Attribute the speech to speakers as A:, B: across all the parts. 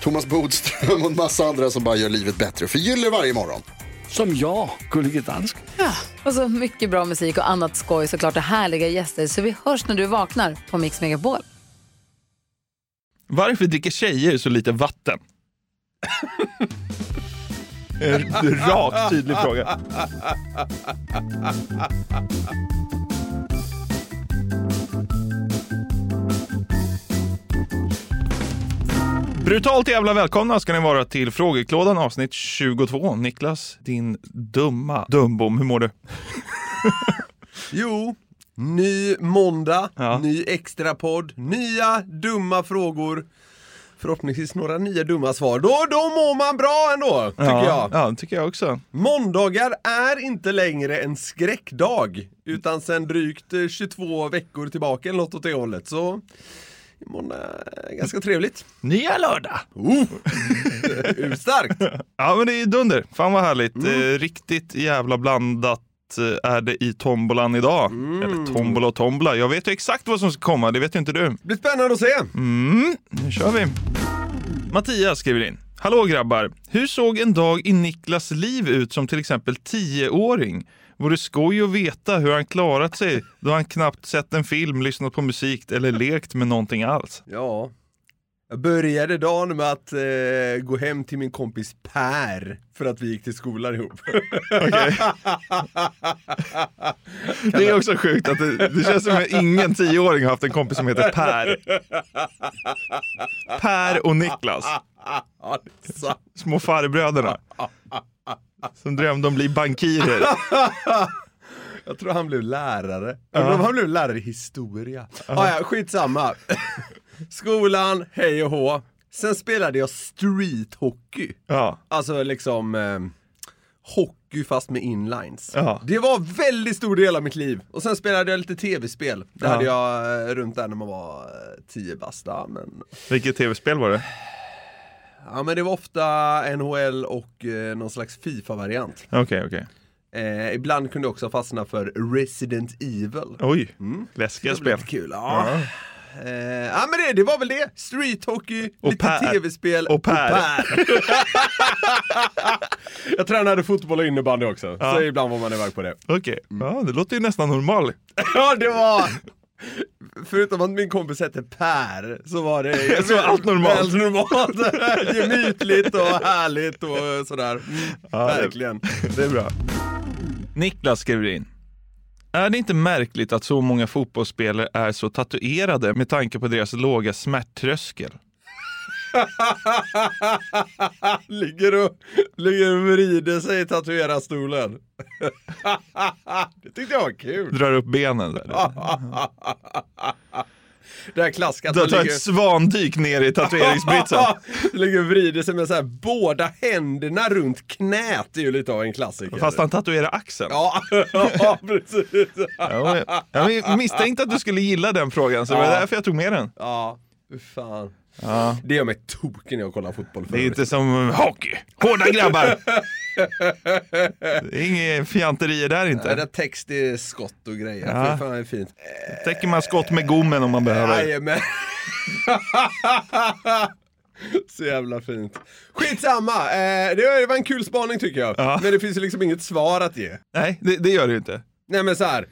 A: Thomas Bodström och en massa andra som bara gör livet bättre för gillar varje morgon.
B: Som jag, Gullige Dansk.
C: Och så mycket bra musik och annat skoj såklart och härliga gäster så vi hörs när du vaknar på Mix Megapol.
D: Varför dricker tjejer så lite vatten? en rak, tydlig fråga. Brutalt jävla välkomna ska ni vara till frågeklådan avsnitt 22. Niklas, din dumma dumbom, hur mår du?
E: Jo, ny måndag,
D: Ja.
E: ny extra podd, nya dumma frågor. Förhoppningsvis några nya dumma svar. Då, då mår man bra ändå, tycker
D: ja,
E: jag.
D: Ja, det tycker jag också.
E: Måndagar är inte längre en skräckdag, utan sen drygt eh, 22 veckor tillbaka eller något åt det hållet. Så imorgon är ganska trevligt. Oh.
D: Nya lördag!
E: Urstarkt!
D: Ja men det är dunder, fan vad härligt.
E: Mm.
D: Eh, riktigt jävla blandat eh, är det i tombolan idag.
E: Mm.
D: Eller tombola och tombola. Jag vet ju exakt vad som ska komma, det vet ju inte du. Mm,
E: blir spännande att se.
D: Nu kör vi. Mattias skriver in. Hallå grabbar! Hur såg en dag i Niklas liv ut som till exempel 10-åring? Vore skoj att veta hur han klarat sig då han knappt sett en film, lyssnat på musik eller lekt med någonting alls.
E: Ja. Jag började dagen med att eh, gå hem till min kompis Per för att vi gick till skolan ihop.
D: Det är också sjukt att det, det känns som att ingen tioåring har haft en kompis som heter Per. Per och Niklas,
E: ja, det är sant.
D: små farbröderna. Som drömde om att bli bankirer.
E: Jag tror han blev lärare. Jag tror han blev lärare i historia. Ah, ja, skitsamma. Skolan, hej och hå. Sen spelade jag streethockey.
D: Ja.
E: Alltså liksom eh, hockey fast med inlines.
D: Ja.
E: Det var väldigt stor del av mitt liv. Och sen spelade jag lite tv-spel. Det
D: Ja.
E: hade jag eh, runt där när man var eh, 10 bast. Ja, Men...
D: Vilket tv-spel var det?
E: ja men det var ofta NHL och eh, någon slags FIFA-variant.
D: Okej, okej.
E: Eh, ibland kunde jag också fastna för Resident Evil. Mm.
D: Oj, läskiga
E: Det var
D: spel.
E: lite kul, ja. Ja. Eh, ja men det, det var väl det. Street hockey,
D: Och
E: lite
D: Per.
E: tv-spel
D: Och Per.
E: jag tränade fotboll och innebandy också, så ibland var man iväg på det. Mm.
D: Okej, ja, det låter ju nästan normal.
E: Ja det var... Förutom att min kompis hette Per, så var det
D: Så var allt normalt.
E: Allt normalt. Gemytligt och härligt och sådär. Mm,
D: Ja, det-
E: verkligen.
D: Det är bra. Niklas skriver in. Är det inte märkligt att så många fotbollsspelare är så tatuerade med tanke på deras låga smärttröskel?
E: ligger, och, ligger och vrider sig i tatuerarstolen. det tyckte jag var kul.
D: Drar upp benen där.
E: Det här klasskat.
D: Du
E: man
D: tar
E: ligger-
D: ett svandyk ner i tatueringsbritsen.
E: Ligger och vrider sig med så här båda händerna runt knät. Det är ju lite av en klassiker.
D: Fast han tatuerar axeln.
E: Ja, ja precis.
D: Ja, men- ja, men Jag misstänkte att du skulle gilla den frågan, så det var därför jag tog med den.
E: Ja, fy fan. Det gör mig token när jag kollar fotboll. För
D: Det är
E: övrigt.
D: inte som hockey. Hårda grabbar! Det är inga fjanterier där
E: Nej,
D: inte.
E: det text är skott och grejer. Fy fan, det är fint.
D: Täcker man skott med gommen om man behöver.
E: Jajamän. Så jävla fint. Skitsamma, eh, det var- det var en kul spaning tycker jag. Men det finns ju liksom inget svar att ge.
D: Nej, det, det gör det ju inte.
E: Nej men så här.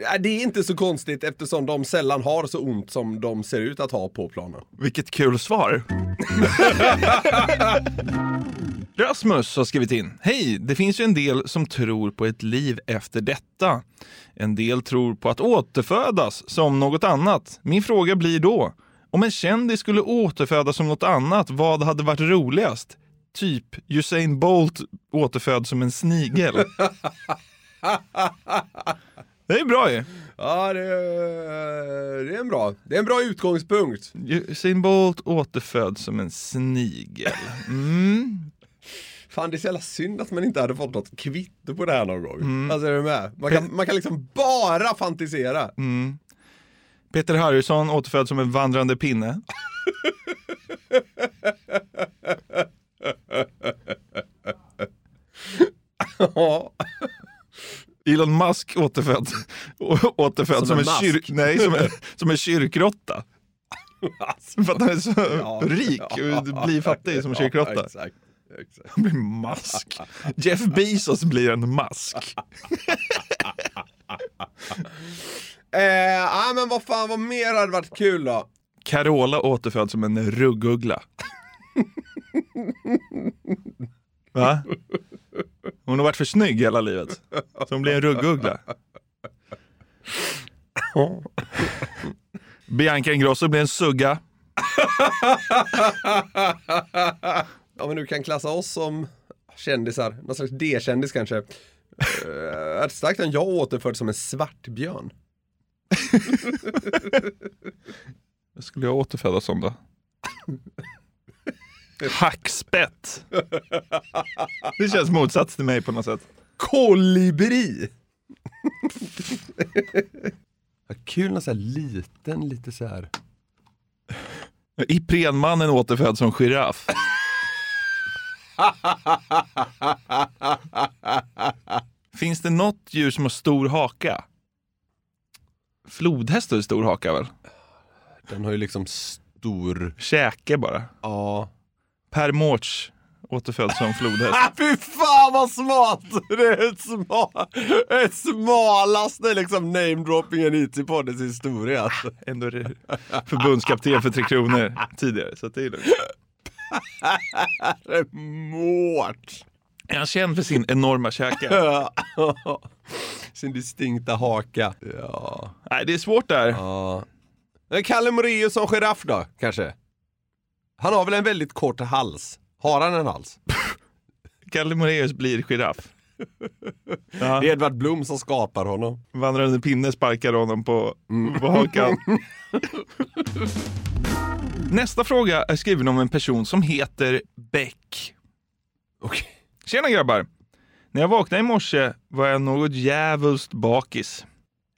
E: Nej, Det är inte så konstigt eftersom de sällan har så ont som de ser ut att ha på planen.
D: Vilket kul svar. Rasmus har skrivit in. Hej! Det finns ju en del som tror på ett liv efter detta. En del tror på att återfödas som något annat. Min fråga blir då, om en kändis skulle återfödas som något annat, vad hade varit roligast? Typ Usain Bolt återfödd som en snigel. Det är bra ju.
E: Ja, det, det är en bra. Det är en bra utgångspunkt.
D: Usain Bolt återfödd som en snigel. Mm.
E: Fan, det är så jävla synd att man inte hade fått något kvitto på det här någon gång.
D: Mm.
E: Alltså, är du med? Man kan, man kan liksom bara fantisera.
D: Mm. Peter Harrison återfödd som en vandrande pinne.
E: Ja.
D: Elon Musk återfödd, å- återfödd som,
E: en
D: en,
E: mask.
D: kyr, nej, som en, som en kyrkråtta. För att han är så
E: Ja.
D: rik och blir fattig som en
E: Ja,
D: kyrkråtta.
E: exakt. exakt.
D: Han blir mask. Jeff Bezos blir en mask.
E: Eh, ja, men vad fan, vad mer hade varit kul då?
D: Carola återfödd som en rugguggla. Va? Hon har varit för snygg hela livet. Så hon blir en rugguggla. Bianca Ingrosso blir en sugga.
E: Ja, men du kan klassa oss som kändisar. Någon slags D-kändis kanske. Eh, Rätt starkt än jag återförd som en svartbjörn.
D: Vad skulle jag återfödas som då? Hackspett. Det känns motsats till mig på något sätt.
E: Kolibri! Vad kul när så här liten, lite så här.
D: Iprenmannen återfödd som giraff. Finns det något djur som har stor haka? Flodhäst har ju stor haka väl?
E: Den har ju liksom stor...
D: Käke bara.
E: Ja.
D: Per Mårts återfödd som flodhäst.
E: Ah, fy fan vad smart! Det är ett, sma... ett smalaste liksom namedroppingen hit i poddens historia. Alltså.
D: Ändå är det förbundskapten för Tre Kronor tidigare, så att det är lugnt.
E: Det är Mårt!
D: Är han känd för sin enorma käke?
E: Ja. Sin distinkta haka. Ja.
D: Nej, det är svårt där.
E: ja. Men Kalle Moraeus som giraff då, kanske? Han har väl en väldigt kort hals? Har han en hals?
D: Kalle Moraeus blir giraff. Ja.
E: Det är Edvard Blom som skapar honom.
D: Vandrande pinne sparkar honom på,
E: Mm.
D: på hakan. Nästa fråga är skriven om en person som heter Beck.
E: Okej.
D: Tjena grabbar! När jag vaknade i morse var jag något djävulskt bakis.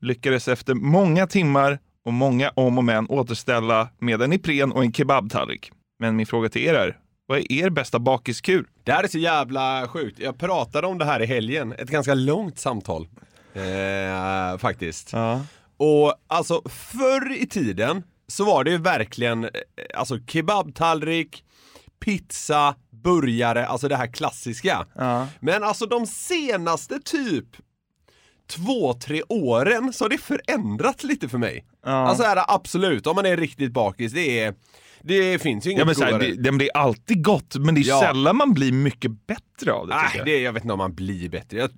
D: Lyckades efter många timmar och många om och men återställa med en Ipren och en kebabtallrik. Men min fråga till er är, vad är er bästa bakiskur?
E: Det här är så jävla sjukt. Jag pratade om det här i helgen. Ett ganska långt samtal. Eh, faktiskt.
D: Ja.
E: Och alltså förr i tiden så var det ju verkligen eh, alltså kebabtallrik, pizza, burgare, alltså det här klassiska. Men alltså de senaste typ två, tre åren så har det förändrat lite för mig. Alltså är det absolut, om man är riktigt bakis, det är det finns ju inget
D: Ja, men så här,
E: godare.
D: det, det, men det är alltid gott, men det är
E: Ja.
D: sällan man blir mycket bättre av det. tycker
E: Nej,
D: jag.
E: det, jag vet inte om man blir bättre. Jag,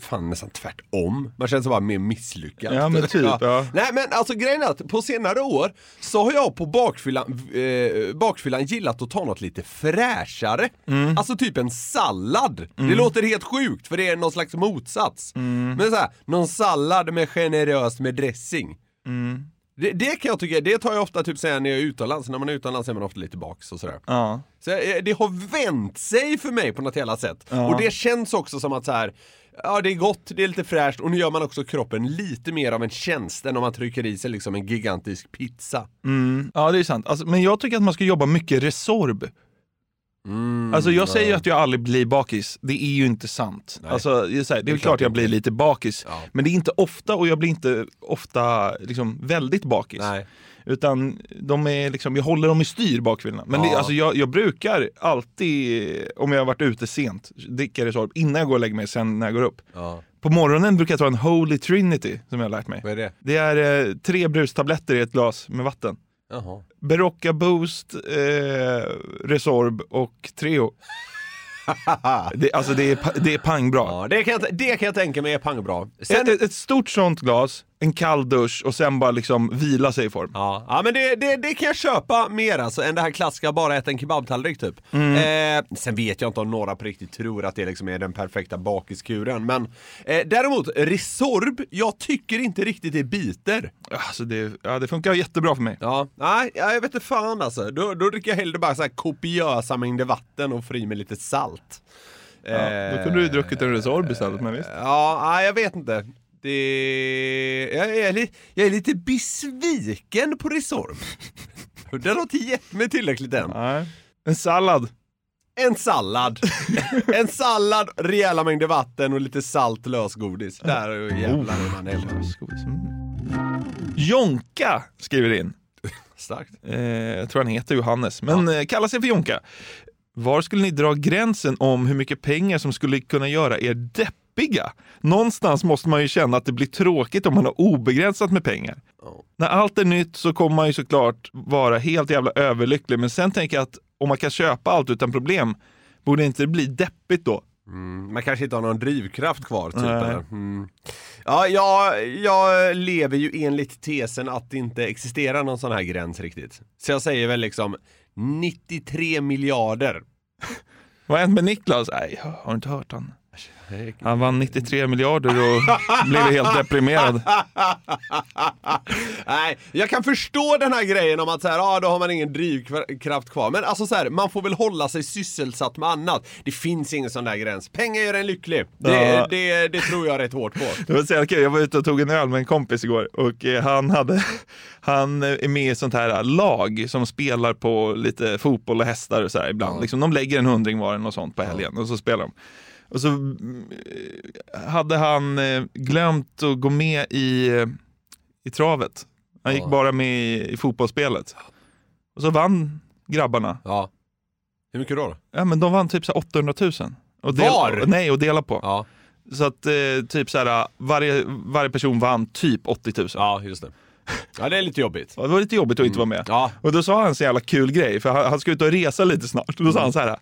E: fan nästan tvärtom. Man känns bara mer misslyckad.
D: Ja, men typ, ja.
E: Nej men alltså grejen är att på senare år så har jag på bakfyllan, eh, bakfyllan gillat att ta något lite fräschare.
D: Mm.
E: Alltså typ en sallad. Det låter helt sjukt för det är någon slags motsats.
D: Mm.
E: Men så här, någon sallad med generöst med dressing.
D: Mm.
E: Det, det kan jag tycka, det tar jag ofta typ sen när jag är utomlands, när man är utomlands är man ofta lite bakis och sådär.
D: Ja.
E: Så eh, det har vänt sig för mig på något jävla sätt. Och det känns också som att så här, ja det är gott, det är lite fräscht och nu gör man också kroppen lite mer av en tjänst än om man trycker i sig liksom en gigantisk pizza.
D: Ja, det är sant. Alltså, men jag tycker att man ska jobba mycket Resorb.
E: Mm,
D: alltså jag säger ju att jag aldrig blir bakis, det är ju inte sant. Alltså, det är, så här, det är väl klart jag blir lite bakis, men det är inte ofta och jag blir inte ofta liksom, väldigt bakis.
E: Nej.
D: Utan de är liksom, jag håller dem i styr bakfyllan. Men det,
E: Ja.
D: alltså, jag, jag brukar alltid, om jag har varit ute sent, dricka Resorb innan jag går och lägger mig, sen när jag går upp. På morgonen brukar jag ta en Holy Trinity som jag har lärt mig.
E: Vad är det?
D: Det är eh, tre brustabletter i ett glas med vatten.
E: Jaha.
D: Berocca Boost, eh, Resorb och Treo. det, alltså det är, pa- det är pangbra.
E: Ja, det kan, jag, det kan jag tänka mig är pangbra.
D: Ett,
E: Sen,
D: ett, ett stort sånt glas, en kall dusch och sen bara liksom vila sig i form.
E: ja, ja, men det, det, det kan jag köpa mer alltså än det här klassiska bara äta en kebabtallrik typ. Eh, sen vet jag inte om några på riktigt tror att det liksom är den perfekta bakiskuren. Men eh, däremot, Resorb, jag tycker inte riktigt det biter.
D: Alltså det, ja, det funkar jättebra för mig.
E: Ja, nej, ja, jag vet inte fan alltså. Då, då dricker jag hellre bara så här kopiösa mängder vatten och får i mig lite salt. Eh,
D: Ja, då kunde du ju druckit en Resorb istället, men visst.
E: Ja, nej, jag vet inte. Det... Jag, är li... jag är lite besviken på Resorb. Den har inte gett mig tillräckligt än.
D: Nej. En sallad.
E: En sallad. en sallad, rejäla mängder vatten och lite salt lösgodis. Där är ju jävlar hur man eldar.
D: Mm. Jonka skriver in.
E: Starkt.
D: Eh, jag tror han heter Johannes, men eh, kallar sig för Jonka. Var skulle ni dra gränsen om hur mycket pengar som skulle kunna göra er deppiga? Någonstans måste man ju känna att det blir tråkigt om man har obegränsat med pengar. När allt är nytt så kommer man ju såklart vara helt jävla överlycklig, men sen tänker jag att om man kan köpa allt utan problem, borde inte det bli deppigt då?
E: Mm, Man kanske inte har någon drivkraft kvar typ.
D: Nej.
E: eller? Mm. Ja, jag, jag lever ju enligt tesen att det inte existerar någon sån här gräns riktigt. Så jag säger väl liksom 93 miljarder.
D: Vad har hänt med Niklas? Nej, har du inte hört han? Han vann 93 miljarder och blev helt deprimerad.
E: Nej, jag kan förstå den här grejen om att så här, ah, då har man ingen drivkraft kvar. Men alltså så här, man får väl hålla sig sysselsatt med annat. Det finns ingen sån där gräns. Pengar gör en lycklig. Det,
D: Ja.
E: det, det tror jag rätt hårt på.
D: Det var så jävla kul. Jag var ute och tog en öl med en kompis igår och eh, han, hade, han eh, är med i ett sånt här lag som spelar på lite fotboll och hästar och så här ibland. Liksom, de lägger en hundring var och sånt på helgen och så spelar de. Och så mm, eh, hade han eh, glömt att gå med i, eh, i travet. Han gick bara med i, i fotbollsspelet. Och så vann grabbarna.
E: Ja. Hur mycket då? då?
D: Ja, men de vann typ så här 800 000. Och del-
E: Var?
D: Nej, och dela på.
E: Ja.
D: Så att eh, typ så här, varje, varje person vann typ 80 000.
E: ja, just det. Ja, det är lite jobbigt.
D: Och Det var lite jobbigt att inte vara med.
E: Mm. Ja.
D: Och då sa han en så jävla kul grej, för han, han ska ut och resa lite snart. Och då
E: Mm.
D: sa han så här,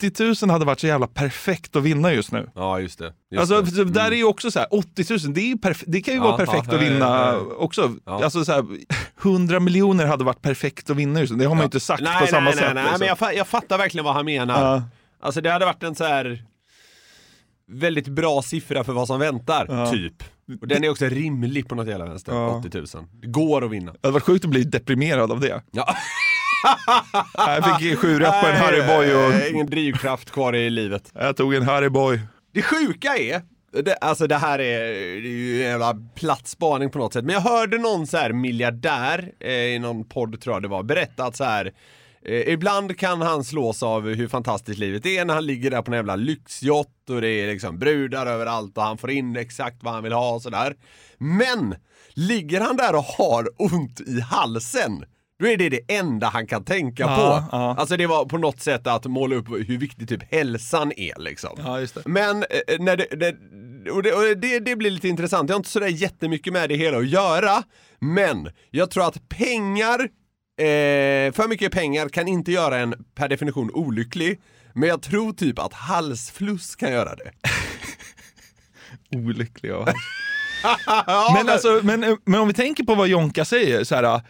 D: 80 000 hade varit så jävla perfekt att vinna just nu.
E: Ja, just det. Just
D: Alltså,
E: det. Mm.
D: för där är ju också så här, 80 000, det, är ju perf- det kan ju
E: Ja,
D: vara perfekt
E: ja,
D: att
E: ja,
D: vinna
E: ja, ja.
D: också.
E: Ja.
D: Alltså så här, 100 miljoner hade varit perfekt att vinna just nu. Det har man ju inte sagt
E: nej,
D: på samma
E: nej,
D: sätt.
E: Nej, nej,
D: liksom.
E: men jag, fa- jag fattar verkligen vad han menar.
D: Ja.
E: Alltså det hade varit en så här väldigt bra siffra för vad som väntar, typ. Och den är också rimlig på något jävla vänster,
D: Ja.
E: 80 000. Det går att vinna.
D: Det hade varit sjukt att bli deprimerad av det.
E: Ja.
D: Jag fick sju rätt på en
E: Nej,
D: Harryboy och
E: eh, Ingen drivkraft kvar i livet.
D: jag tog en Harryboy.
E: Det sjuka är, det, alltså det här är, det är ju en jävla platt spaning på något sätt, men jag hörde någon så här miljardär eh, i någon podd tror jag det var, berätta att så här Eh, ibland kan han slås av hur fantastiskt livet är när han ligger där på en jävla lyxjott och det är liksom brudar överallt och han får in exakt vad han vill ha och sådär. Men ligger han där och har ont i halsen, då är det det enda han kan tänka på.
D: ja.
E: Alltså det var på något sätt att måla upp hur viktig typ hälsan är liksom.
D: Ja, just det.
E: Men eh, när det, det, och det, och det, det blir lite intressant. Jag har inte sådär jättemycket med det hela att göra. Men jag tror att pengar, eh, för mycket pengar kan inte göra en per definition olycklig. Men jag tror typ att halsfluss kan göra det.
D: Olycklig jag var. men, alltså, men, men om vi tänker på vad Jonka säger, så här,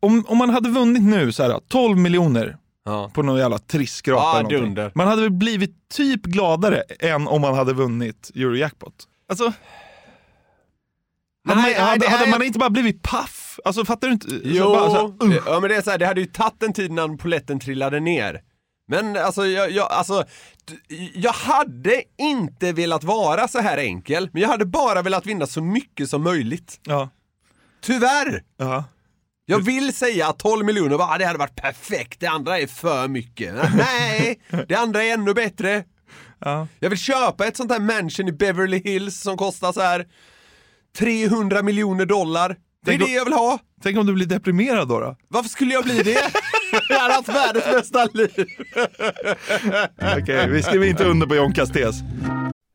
D: om, om man hade vunnit nu så här, 12 miljoner
E: Ja.
D: på någon jävla trisskrapa
E: Ja,
D: eller någonting.
E: dunder.
D: Man hade väl blivit typ gladare än om man hade vunnit Eurojackpot. Alltså, hade,
E: Nej,
D: man, hade,
E: nej, det
D: hade
E: här-
D: man inte bara blivit paff? Alltså fattar du inte? Så
E: Jo, Eh.
D: bara så här, uh.
E: ja, men det är så här, det hade ju tagit en tid innan poletten trillade ner. Men alltså jag, jag, alltså, d- jag hade inte velat vara så här enkel, men jag hade bara velat vinna så mycket som möjligt.
D: Ja.
E: Tyvärr!
D: Ja.
E: Jag vill säga att 12 miljoner, bara, "Ah, det hade varit perfekt, det andra är för mycket. Men Nej, det andra är ännu bättre.
D: Ja.
E: Jag vill köpa ett sånt här mansion i Beverly Hills som kostar så här 300 miljoner dollar. Det är
D: Tänk
E: det jag vill ha.
D: Tänk om du blir deprimerad då? då?
E: Varför skulle jag bli det? Jag hade haft världens bästa liv.
D: Okej, vi skriver inte under på Jonkas tes.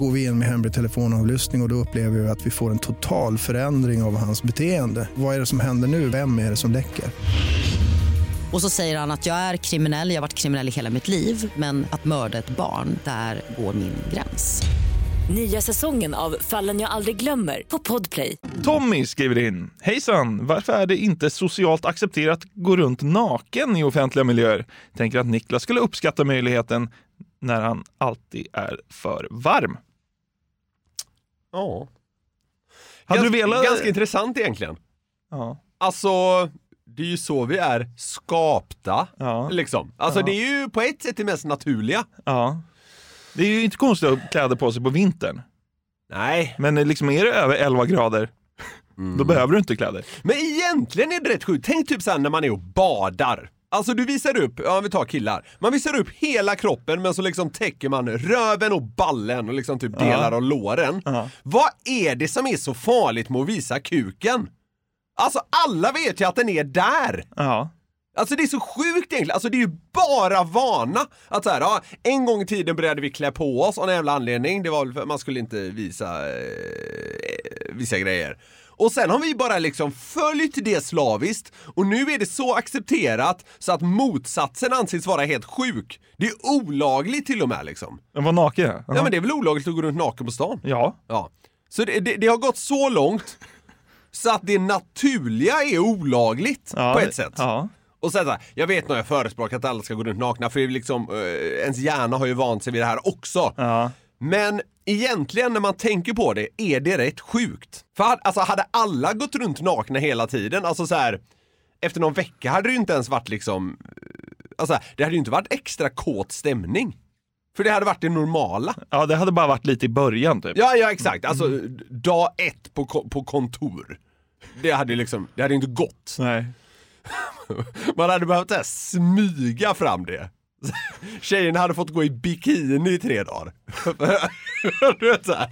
F: Går vi in med hemlig telefonavlyssning och, och då upplever vi att vi får en total förändring av hans beteende. Vad är det som händer nu? Vem är det som läcker?
G: Och så säger han att jag är kriminell, jag har varit kriminell i hela mitt liv men att mörda ett barn, där går min gräns.
H: Nya säsongen av Fallen jag aldrig glömmer på Podplay.
D: Tommy skriver in. Hejsan! Varför är det inte socialt accepterat att gå runt naken i offentliga miljöer? Tänker att Niklas skulle uppskatta möjligheten när han alltid är för varm.
E: Ja.
D: Hade
E: Gans-
D: du velat...
E: Ganska intressant egentligen.
D: Ja.
E: Alltså, det är ju så vi är skapta. Liksom. Alltså
D: Ja.
E: det är ju på ett sätt det mest naturliga.
D: Ja. Det är ju inte konstigt att ha kläder på sig på vintern.
E: Nej.
D: Men eh, liksom är det över 11 grader, då behöver du inte kläder.
E: Men egentligen är det rätt sjukt. Tänk typ såhär när man är och badar. Alltså du visar upp, ja vi tar killar, man visar upp hela kroppen men så liksom täcker man röven och ballen och liksom typ
D: Ja.
E: delar av låren. Vad är det som är så farligt med att visa kuken? Alltså alla vet ju att den är där! Alltså det är så sjukt egentligen, alltså det är ju bara vana! Att såhär, ja, en gång i tiden började vi klä på oss av någon jävla anledning, det var väl för att man skulle inte visa eh, vissa grejer. Och sen har vi bara liksom följt det slaviskt och nu är det så accepterat så att motsatsen anses vara helt sjuk. Det är olagligt till och med liksom.
D: Men var naken? ja.
E: Ja men det är väl olagligt att gå runt naken på stan?
D: Ja.
E: ja. Så det, det, det har gått så långt så att det naturliga är olagligt
D: Ja,
E: på
D: det-
E: ett sätt.
D: ja.
E: Och sen så här, jag vet när jag förespråkar att alla ska gå runt nakna för det är liksom, eh, ens hjärna har ju vant sig vid det här också. Men egentligen när man tänker på det är det rätt sjukt. För had- alltså hade alla gått runt nakna hela tiden, alltså så här, efter någon vecka hade det ju inte ens varit liksom, eh, alltså det hade ju inte varit extra kåt stämning. För det hade varit det normala.
D: Ja, det hade bara varit lite i början typ.
E: Ja, ja exakt. Alltså, d- dag ett på, ko- på kontor. Det hade liksom, det hade inte gått.
D: Nej.
E: Man hade behövt så här, smyga fram det. Tjejerna hade fått gå i bikini i tre dagar. du vet så här.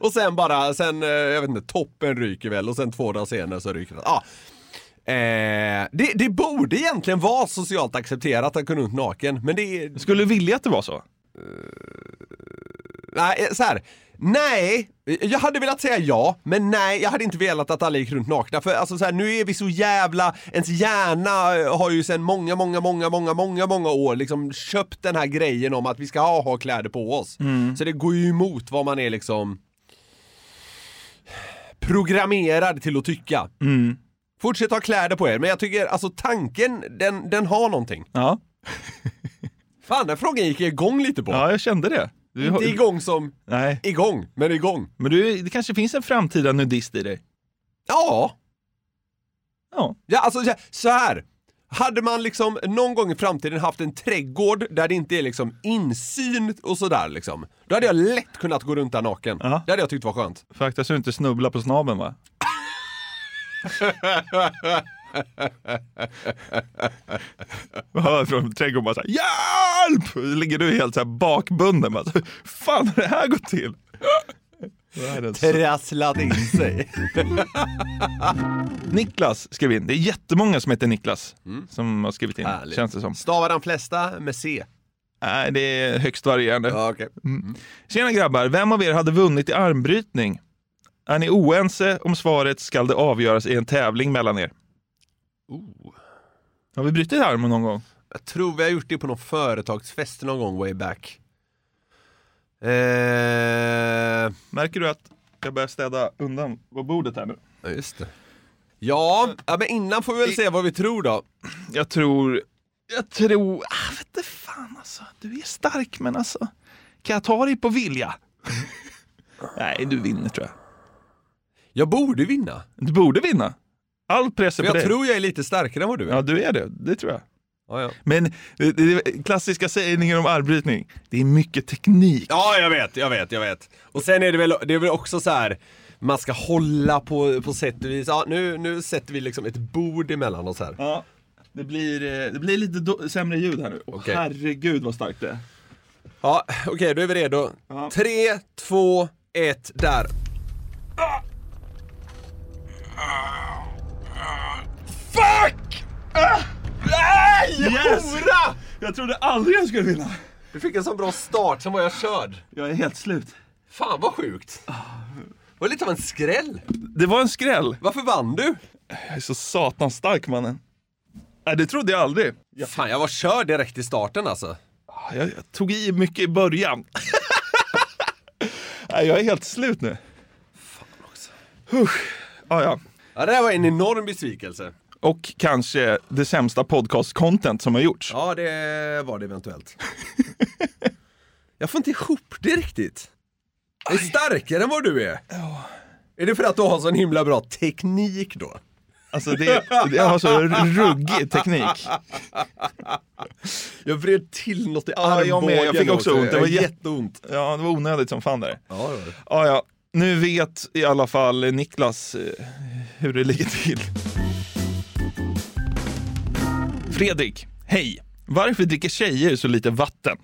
E: och sen bara, sen, eh, jag vet inte, toppen ryker väl och sen två dagar senare så ryker den. Ah. Eh, det, det borde egentligen vara socialt accepterat att gå runt naken, men det är...
D: Skulle du vilja att det var så?
E: Nej, eh, så här. Nej, jag hade velat säga ja, men nej, jag hade inte velat att alla gick runt nakna. För alltså så här, nu är vi så jävla, ens hjärna eh, har ju sedan många, många, många, många, många, många år liksom köpt den här grejen om att vi ska ha, ha kläder på oss.
D: Mm.
E: Så det går ju emot vad man är liksom programmerad till att tycka.
D: Mm.
E: Fortsätt ha kläder på er, men jag tycker alltså tanken, den, den har någonting.
D: Ja.
E: Fan, den frågan gick jag igång lite på.
D: Ja, jag kände det. Du har-
E: Inte igång som
D: Nej.
E: igång, men igång.
D: Men du, det kanske finns en framtida nudist i dig?
E: Ja.
D: Ja.
E: Ja, alltså så- så här. Hade man liksom någon gång i framtiden haft en trädgård där det inte är liksom insyn och sådär liksom. Då hade jag lätt kunnat gå runt där naken. Det hade jag tyckt var skönt.
D: Faktiskt så du inte snubblar på snabeln va? Man hör från trädgården bara så här, hjälp! Och så Ligger du helt så här bakbunden. Bara, så, fan har det här gått till?
E: Trasslat in sig.
D: Niklas skrev in. Det är jättemånga som heter Niklas som har skrivit in,
E: Härligt.
D: känns det som.
E: Stavar de flesta med C?
D: Nej, det är högst varierande. Mm. Tjena grabbar, vem av er hade vunnit i armbrytning? Är ni oense om svaret skall det avgöras i en tävling mellan er. Har vi brutit armen någon gång?
E: Jag tror vi har gjort det på någon företagsfest någon gång way back. Eh...
D: Märker du att jag börjar städa undan på bordet här nu?
E: Ja, just det. Ja, ja, men innan får vi väl se vad vi tror då.
D: Jag tror... Jag tror... Ah, vet du fan alltså. Du är stark men alltså. Kan jag ta dig på vilja? Nej, du vinner tror jag.
E: Jag borde vinna.
D: Du borde vinna. All press är
E: Men
D: på
E: jag
D: dig.
E: tror jag är lite starkare än vad du är.
D: Ja, du är det. Det tror jag.
E: Ja, ja.
D: Men eh, det, det, klassiska sägningen om armbrytning, det är mycket teknik.
E: Ja, jag vet, jag vet, jag vet. Och sen är det väl, det är väl också så här. Man ska hålla på, på sätt och vis. Ja, nu, nu sätter vi liksom ett bord emellan oss här.
D: Ja, det blir, eh, det blir lite do- sämre ljud här nu. Åh,
E: Okej.
D: Herregud vad starkt det är.
E: Ja, okej, då är vi redo.
D: Ja.
E: Tre, två, ett, där.
D: Fuck!
E: Nej!
D: Yes!
E: Hora!
D: Jag trodde aldrig jag skulle vinna.
E: Du fick en sån bra start, sen var jag körd.
D: Jag är helt slut.
E: Fan vad sjukt. Det var lite av en skräll.
D: Det var en skräll.
E: Varför vann du?
D: Jag är så satans stark mannen. Nej, det trodde jag aldrig. Ah,
E: Fan, jag var körd direkt i starten alltså.
D: Jag, jag tog i mycket i början. Nej, jag är helt slut nu. Fan också. Ja, ja.
E: Ja, det här var en enorm besvikelse.
D: Och kanske det sämsta podcast-content som har gjorts.
E: Ja, det var det eventuellt. jag får inte ihop det riktigt. Jag är starkare än vad du är. Är det för att du har sån himla bra teknik då?
D: Alltså det, jag har så ruggig teknik.
E: Jag vred till något i
D: Ja,
E: armbågen
D: jag med. Jag fick också ont. Det var
E: Jag är
D: jä-
E: jätteont.
D: Ja, det var onödigt som fan där.
E: Ja, det var det.
D: Ja, ja. Nu vet i alla fall Niklas eh, hur det ligger till. Fredrik, hej. Varför dricker tjejer så lite vatten?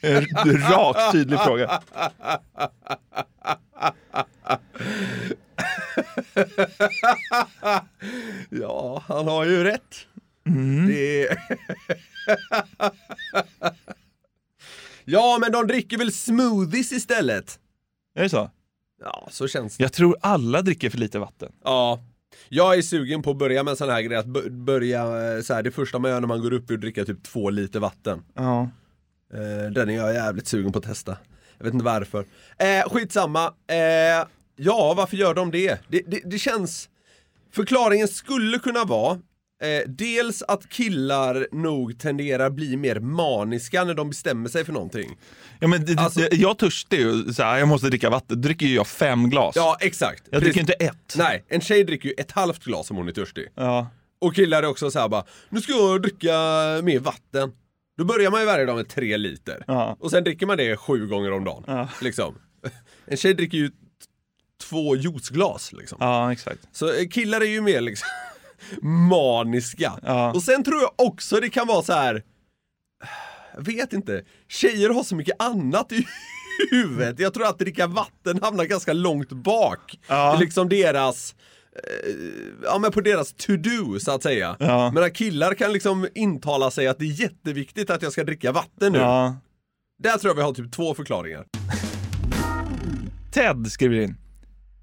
D: En Rakt tydlig fråga.
E: ja, han har ju rätt.
D: Mm.
E: Det... ja, men de dricker väl smoothies istället?
D: Är det så?
E: Ja, så känns det.
D: Jag tror alla dricker för lite vatten.
E: Ja. Jag är sugen på att börja med en sån här grej, att bör- börja eh, så här, det första man gör när man går upp är att dricka typ två liter vatten.
D: Ja.
E: Eh, den är jag jävligt sugen på att testa. Jag vet inte varför. Eh, skitsamma. Eh, ja, varför gör de det? Det, det, det känns... Förklaringen skulle kunna vara eh, dels att killar nog tenderar bli mer maniska när de bestämmer sig för någonting.
D: ja men, det- det-
E: Alltså-
D: jag törstig ju, så här, jag måste dricka vatten. Då dricker ju jag fem glas.
E: Ja, exakt.
D: jag dricker
E: Precis.
D: inte ett.
E: Nej, en tjej dricker ju ett halvt glas om hon är törstig.
D: Ja.
E: Och killar är också så här bara, nu ska jag dricka mer vatten. Då börjar man ju varje dag med tre liter.
D: Ja.
E: Och sen dricker man det sju gånger om dagen.
D: Ja.
E: Liksom. En tjej dricker ju t- två juiceglas liksom.
D: ja, exakt.
E: Så eh, killar är ju mer liksom maniska. Och sen tror jag också det kan vara så här. Jag vet inte. Tjejer har så mycket annat i huvudet. Jag tror att dricka vatten hamnar ganska långt bak. I liksom deras eh, Ja men på deras to-do så att säga.
D: Ja.
E: Medan killar kan liksom intala sig att det är jätteviktigt att jag ska dricka vatten nu.
D: Ja.
E: Där tror jag vi har typ två förklaringar.
D: Ted skriver in.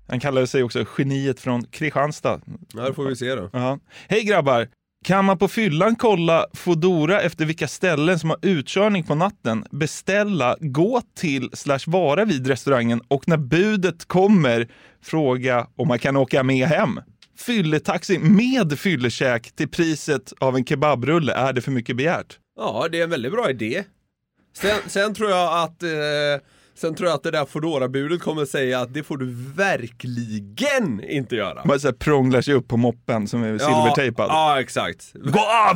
D: Han kallar sig också geniet från Kristianstad.
E: Ja, det får vi se då.
D: Ja. Hej grabbar! Kan man på fyllan kolla Fodora efter vilka ställen som har utkörning på natten, beställa, gå till slash vara vid restaurangen och när budet kommer fråga om man kan åka med hem? Fylletaxi med fyllekäk till priset av en kebabrulle, är det för mycket begärt?
E: Ja, det är en väldigt bra idé. Sen, sen tror jag att eh, Sen tror jag att det där Foodora-budet kommer säga att det får du verkligen inte göra.
D: Bara så här prånglar sig upp på moppen som är silvertejpad.
E: Ja, exakt.
D: Gå av!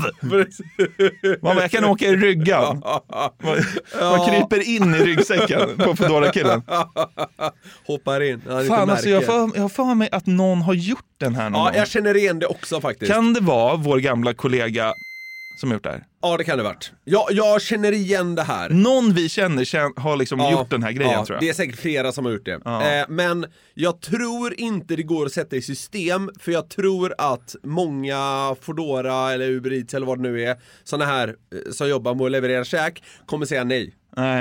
D: Man bara, jag kan åka i ryggan. Man, man kryper in i ryggsäcken på Foodora-killen.
E: Hoppar in. Han inte
D: Fan alltså, jag
E: märker.
D: får, jag har för mig att någon har gjort den här någon
E: Ja,
D: gång.
E: jag känner igen det också faktiskt.
D: Kan det vara vår gamla kollega som har gjort det här?
E: Ja, det kan det varit. Jag, jag känner igen det här.
D: Någon vi känner kän- har liksom
E: Ja,
D: gjort den här grejen
E: ja,
D: tror jag.
E: Det är säkert flera som har gjort det.
D: Ja.
E: Eh, men jag tror inte det går att sätta i system, för jag tror att många Foodora eller Uber Eats eller vad det nu är, sådana här eh, som jobbar med att leverera käk, kommer säga nej.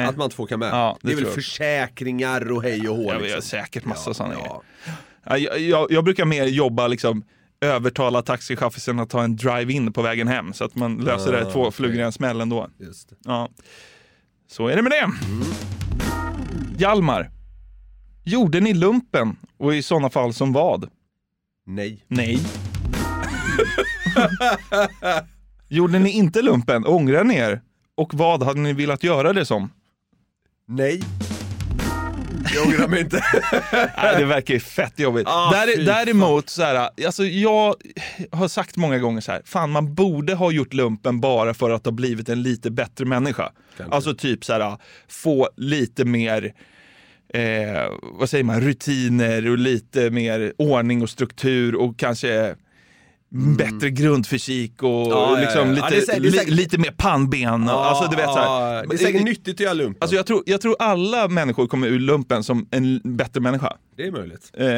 E: Att man inte får åka med.
D: Ja, det
E: det, är väl
D: tror jag.
E: försäkringar och hej och hå.
D: Jag
E: liksom.
D: har säkert massa sådana grejer. Ja, Jag, jag, jag brukar mer jobba liksom övertala taxichauffören att ta en drive-in på vägen hem så att man löser det här
E: Ah,
D: två flugor i en smäll ändå.
E: Just det.
D: Ja. Så är det med det. Hjalmar, gjorde ni lumpen och i sådana fall som vad?
E: Nej.
D: Nej. gjorde ni inte lumpen? Ångrar ni er? Och vad hade ni velat göra det som?
E: Nej. Jag ångrar mig inte.
D: Nej, det verkar ju fett jobbigt.
E: Ah,
D: Där,
E: fy
D: däremot, så här, alltså, jag har sagt många gånger så här, fan man borde ha gjort lumpen bara för att ha blivit en lite bättre människa. Alltså typ så här, få lite mer eh, vad säger man, rutiner och lite mer ordning och struktur och kanske bättre grundfysik och
E: Mm. Ah, ja, ja.
D: liksom
E: Ja,
D: Lite,
E: det är säkert- det är
D: li,
E: säkert-
D: lite mer pannben. och- alltså, du vet, så
E: Ja,
D: här,
E: det är säkert nyttigt att göra lumpen.
D: Alltså, jag, tror, jag tror alla människor kommer ur lumpen som en bättre människa.
E: Det är möjligt.
D: Eh,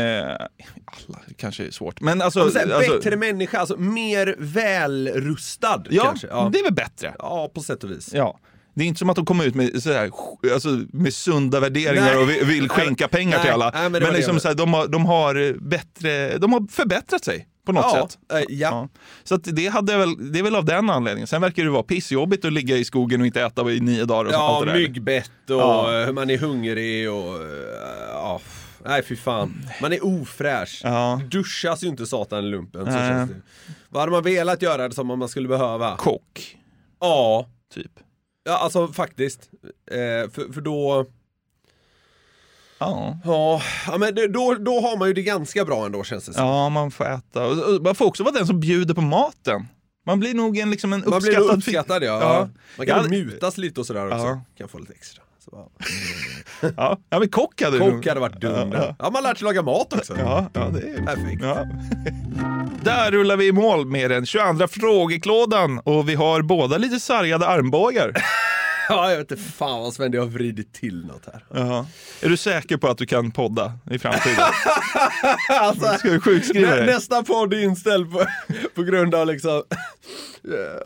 D: alla kanske är svårt, men alltså...
E: Alltså, såhär,
D: alltså
E: bättre människa, alltså mer välrustad
D: ja,
E: kanske.
D: det är väl bättre.
E: Ja, på sätt och vis.
D: Ja. Det är inte som att de kommer ut med, så här, alltså, med sunda värderingar
E: Nej.
D: och vi- vill skänka pengar till
E: Nej.
D: alla.
E: Nej, men det
D: men
E: var det
D: liksom,
E: jag-
D: så här, de, har, de, har eh, bättre, de har förbättrat sig på något
E: Ja,
D: sätt.
E: eh, ja.
D: Så att det, hade väl, det är väl av den anledningen. Sen verkar det vara pissjobbigt att ligga i skogen och inte äta i nio dagar. Och så-
E: Ja,
D: alltså, allt det där.
E: myggbett och eh,
D: Ja.
E: hur man är hungrig och... eh, Ja, f- nej fy fan. Man är ofräsch. Duschas ju inte satan i lumpen. Så
D: Nej.
E: känns det. ju. Vad hade man velat göra det som om man skulle behöva?
D: Kock.
E: Ja.
D: Typ.
E: Ja, alltså faktiskt. Eh, för, för då...
D: Ja.
E: Ja, men det- då, då har man ju det ganska bra ändå känns det som.
D: Ja, man får äta. Och- och Man får också vara den som bjuder på maten. Man blir nog en, liksom en
E: Man
D: uppskattad...
E: blir nog
D: fi-
E: uppskattad ja. Man kan
D: Jag
E: väl
D: hade-
E: mutas lite och sådär också.
D: Ja.
E: Kan få lite extra. Så, ja.
D: Ja, ja men kock hade du.
E: Kock hade varit dum.
D: Ja,
E: Ja, man har lärt sig laga mat också.
D: Ja, ja det är
E: Perfekt.
D: Där rullar vi i mål med den 22 frågeklådan och vi har båda lite sargade armbågar.
E: Ja, jag vet inte fan vad Sven, jag har vridit till något här.
D: Jaha. Är du säker på att du kan podda i framtiden?
E: Alltså,
D: Ska du sjukskriva
E: nä,
D: dig?
E: nästa podd är inställd på, på grund av liksom,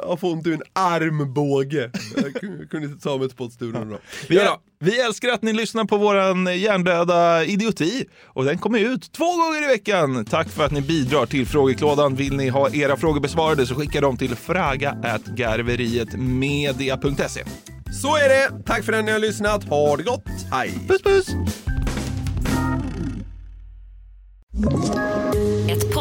E: jag får ont i en armbåge. Jag kun- kunde inte ta mig till poddstudion idag.
D: Vi, vi älskar att ni lyssnar på våran hjärndöda idioti och den kommer ut två gånger i veckan. Tack för att ni bidrar till frågeklådan. Vill ni ha era frågor besvarade så skicka dem till fraga@garverietmedia.se.
E: Så är det, tack för att ni har lyssnat, ha det gott, hej!
D: Puss puss!
H: Ett